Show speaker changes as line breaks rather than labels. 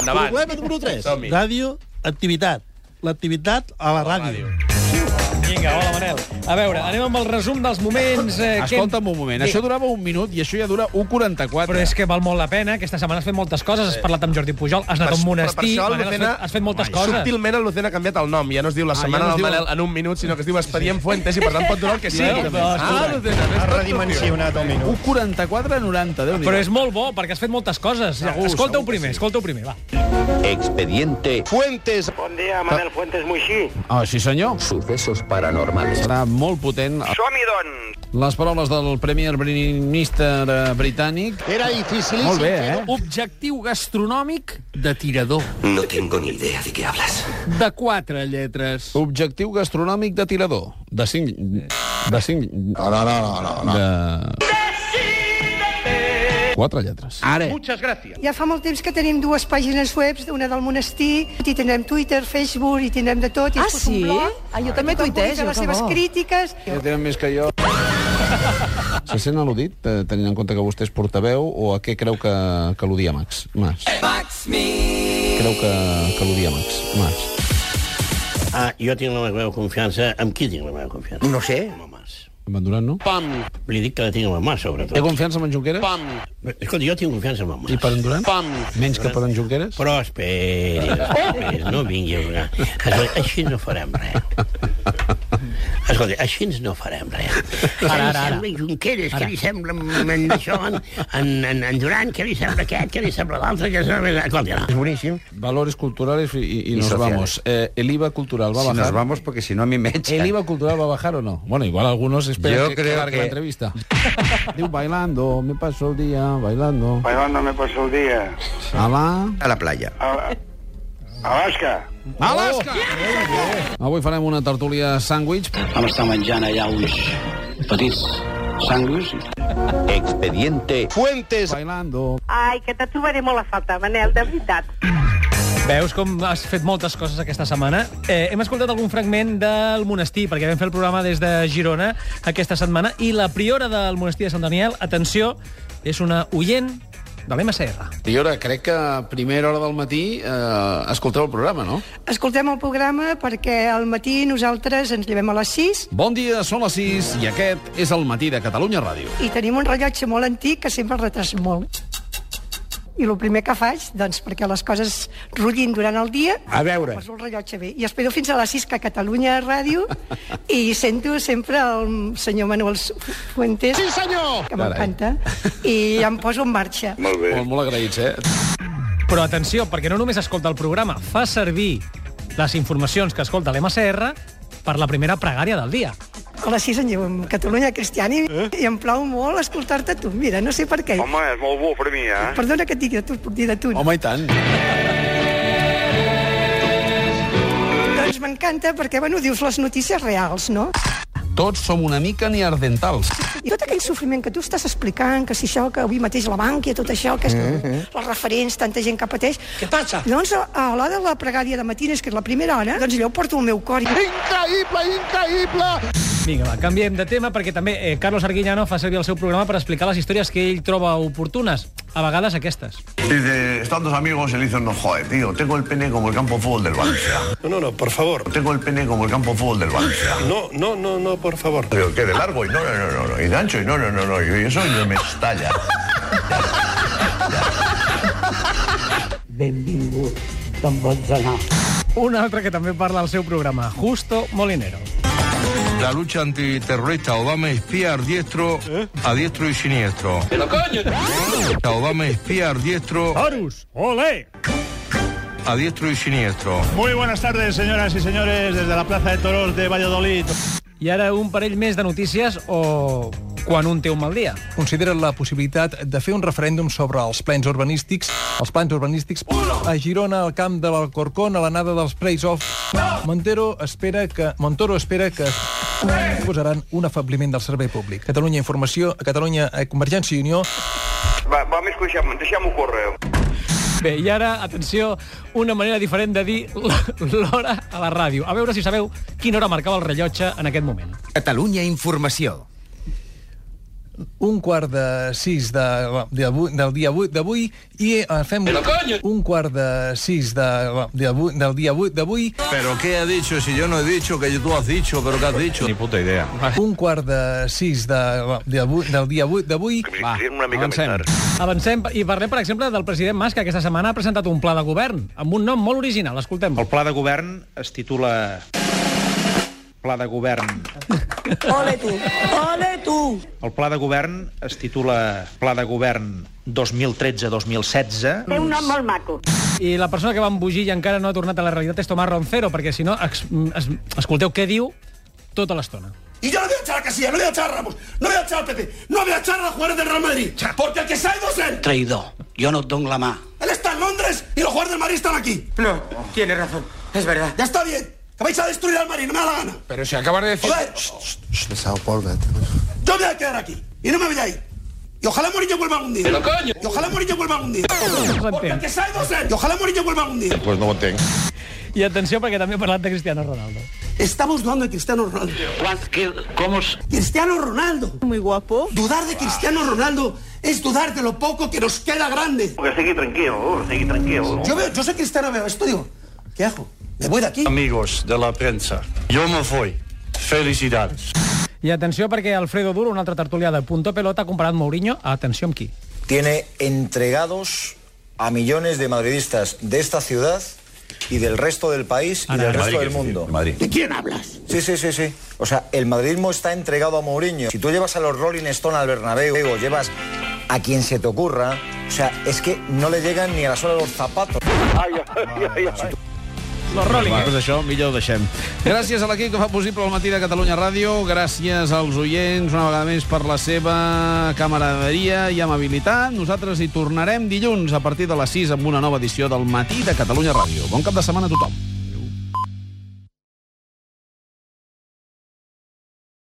Endavant.
Problema número 3.
Som-hi.
Ràdio, activitat. L'activitat a la ràdio.
Vinga, hola, Manel. A veure, anem amb el resum dels moments... Eh, que hem-
Escolta'm un moment,
Bé,
això durava un minut i això ja dura 1,44.
Però és que val molt la pena. Aquesta setmana has fet moltes coses. Has parlat amb Jordi Pujol, has anat a un monestir...
això el
Manel, has,
Lucena-
fet, has fet moltes
Ai,
coses.
Subtilment el Lucena ha canviat el nom. Ja no es diu la
Ah,
setmana
ja no
del
es diu-
Manel en un minut, sinó que es diu Expedient Fuentes i per tant pot durar el que
Eh,
sigui.
Sí, però,
ah, Lucena,
Ha
ves tot tu.
redimensionat el minut.
1,44 90, déu nhi
Però és molt bo, perquè has fet moltes coses.
Segur,
Escolta-ho
segur que
primer,
sí.
escolta-ho primer, va.
Expediente
Fuentes.
Bon dia, Manel Fuentes Moixí.
Oh, sí senyor.
Sucesos Paranormales.
Serà molt potent
Som-hi, doncs.
les paraules del Premier Minister eh, britànic.
Era dificilísimo.
Molt bé, eh? Objectiu gastronòmic de tirador.
No tengo ni idea de qué hablas.
De quatre lletres. Objectiu gastronòmic de tirador. De cinc... De cinc... No, no, no, no. no. De... Quatre lletres. Ara.
Ja fa molt temps que tenim dues pàgines web, una del monestir, i tindrem Twitter, Facebook, i tindrem de tot. I
Ah,
es posa un
sí?
blog,
Ah, jo també
on publica
tuitejo,
les
que
seves
bo.
crítiques.
Ja tenen més que jo. Se sent al·ludit, eh, tenint en compte que vostè és portaveu, o a què creu que, que al·ludia Max? Max. Max me. Creu que, que al·ludia Max? Max.
Ah, jo tinc la meva confiança. Amb qui tinc la meva confiança? No sé. Amb el Mas.
Abandonant, no?
Pam. Li dic que la tinc amb el Mas, sobretot.
Té confiança en en Junqueras?
Pam. Escolta, jo tinc confiança amb el Mas.
I per en Duran?
Pam.
Menys que per en Junqueras?
Però esperi, esperi, no vingui a jugar. Escolta, així no farem res. Escolta, així no farem res.
Ara, ara,
Ara, ara,
ara.
Què li sembla en Junqueras? Què li sembla en, en, això, en, en, en, en Duran? Què li sembla aquest? Què li sembla l'altre? Què li sembla... Escolta, no.
Es buenísimo.
Valores culturales y, y- y
Y
nos
sociales.
vamos. Eh, ¿El IVA cultural va a
Si
bajar?
nos vamos, porque si no a mí me
¿El
echan.
IVA cultural va a bajar o no? Bueno, igual algunos esperan
Yo
que,
creo
alargue
que-
la entrevista. Diu, bailando, me paso el día bailando.
Bailando me paso el dia.
Alà.
A la playa.
A... Alaska.
Alaska! Oh. Avui farem una tertúlia sàndwich.
Vam estar menjant allà uns petits sanguis
Expediente
Fuentes.
Bailando.
Ai, que te trobaré molt a faltar, Manel, de veritat.
Veus com has fet moltes coses aquesta setmana? Eh, hem escoltat algun fragment del monestir, perquè vam fer el programa des de Girona aquesta setmana, i la priora del monestir de Sant Daniel, atenció, és una oient de l'MCR.
I ara crec que a primera hora del matí eh, escolteu el programa, no?
Escoltem el programa perquè al matí nosaltres ens llevem a les 6
Bon dia, són les 6 i aquest és el matí de Catalunya Ràdio.
i tenim un rellotge molt antic que sempre el retrasa molt. I el primer que faig, doncs, perquè les coses rullin durant el dia,
A veure.
poso el rellotge bé. I espero fins a les 6 que a Catalunya Ràdio i sento sempre el senyor Manuel Fuentes. Sí, senyor! Que m'encanta. I em poso en marxa.
Molt bé.
Molt, molt agraïts, eh?
Però atenció, perquè no només escolta el programa, fa servir les informacions que escolta l'MCR per la primera pregària del dia.
A les 6 em llevo amb Catalunya Cristiani eh? i em plau molt escoltar-te a tu. Mira, no sé per què.
Home, és molt bo per mi, eh?
Perdona que et digui de tu, puc dir de tu. no?
Home, i tant.
Doncs m'encanta perquè, bueno, dius les notícies reals, no?
Tots som una mica neardentals.
I tot aquell sofriment que tu estàs explicant, que si això, que avui mateix la banca, tot això, que és que les referents, tanta gent que pateix... Què passa? Doncs a- a l'hora de la pregària de matines, que és la primera hora, doncs jo porto el meu cor. i-
Vinga, va, canviem de tema, perquè també eh, Carlos Arguiñano fa servir el seu programa per explicar les històries que ell troba oportunes, a vegades aquestes.
Dice, están dos amigos y le dicen, no joder, tío, tengo el pene como el campo de fútbol del Valencia.
No, no, no, por favor.
Tengo el pene como el campo de fútbol del Valencia.
No, no, no, no, por favor.
Digo, ¿qué? De largo y no, no, no, no, no, y de ancho y no, no, no, no, y eso y me estalla.
Benvingut, te'n pots anar.
Un altre que també parla al seu programa, Justo Molinero.
La lucha antiterrorista Obama espiar diestro
¿Eh?
a diestro y siniestro. ¡Pero coño! Obama espiar diestro
Horus, ole!
a diestro y siniestro.
Muy buenas tardes, señoras y señores, desde la Plaza de Toros de Valladolid.
I ara un parell més de notícies o quan un té un mal dia.
Consideren la possibilitat de fer un referèndum sobre els plans urbanístics. Els plans urbanístics a Girona, al camp de l'Alcorcón, a l'anada dels Playoffs. Montero espera que... Montoro espera que posaran un afabliment del servei públic. Catalunya Informació, a Catalunya eh, Convergència i Unió.
Va, va més que deixem, deixem-ho córrer.
Bé, i ara, atenció, una manera diferent de dir l- l'hora a la ràdio. A veure si sabeu quina hora marcava el rellotge en aquest moment.
Catalunya Informació.
un quart de sis de, d'avui- del dia avui- d'avui i eh, fem un quart de sis de, d'avui- del dia avui- d'avui
¿Pero qué ha dicho? Si yo no he dicho que tú has dicho, ¿pero qué has dicho? Ni puta idea.
un quart de sis de, d'avui- del dia avui- d'avui
Va, una mica més tard.
Avancem i parlem, per exemple, del president Mas, que aquesta setmana ha presentat un pla de govern amb un nom molt original. Escoltem.
El pla de govern es titula... Pla de govern...
Ole tu, ole tu.
El pla de govern es titula Pla de govern 2013-2016.
Té un nom molt maco.
I la persona que va embogir i encara no ha tornat a la realitat és Tomàs Roncero, perquè si no, ex, es, escolteu què diu tota l'estona.
Y yo no voy a echar a Casillas, no voy a echar a Ramos, no voy a echar a Pepe, no voy a echar a Juárez del Real Madrid. Porque el que se ha ido es él.
Traidor. Yo no doy la más.
Él está en Londres y los jugadores del Madrid están aquí.
No, tiene razón. Es verdad.
Ya está bien. Que vais a destruir al Madrid, no me da la gana.
Pero si acabas de decir...
Joder, yo me voy a quedar aquí y no me voy a ir. Y ojalá Morillo vuelva algún día. Y ojalá Morillo vuelva algún día. Porque el que se ha ido es él. Y ojalá Morillo vuelva algún día.
Pues no ho entenc.
I atenció, perquè també ha parlat de Cristiano Ronaldo.
Estamos dudando de Cristiano Ronaldo.
¿Cómo?
Cristiano Ronaldo.
Muy guapo.
Dudar de Cristiano Ronaldo es dudar de lo poco que nos queda grande.
Que sigui tranquil, que sigui tranquil.
Yo, veo, yo soy cristiano, veo esto, digo, ¿qué hago? ¿Me voy de aquí?
Amigos de la prensa, yo me voy. Felicidades.
I atenció, perquè Alfredo Duro, un altre tertulià de Punto Pelota, ha comparat Mourinho, atenció amb qui?
tiene entregados a millones de madridistas de esta ciudad y del resto del país y
Ahora,
del
de
resto
Madrid, quiero
del
decir,
mundo.
de Madrid.
¿De quién hablas? Sí, sí, sí, sí. O sea, el madridismo está entregado a Mourinho. Si tú llevas a los Rolling Stone al Bernabéu, o llevas a quien se te ocurra, o sea, es que no le llegan ni a la sola de los zapatos.
Los Rolling.
Doncs això, millor ho deixem. Gràcies a l'equip que fa possible el matí de Catalunya Ràdio, gràcies als oients una vegada més per la seva camaraderia i amabilitat. Nosaltres hi tornarem dilluns a partir de les 6 amb una nova edició del matí de Catalunya Ràdio. Bon cap de setmana a tothom.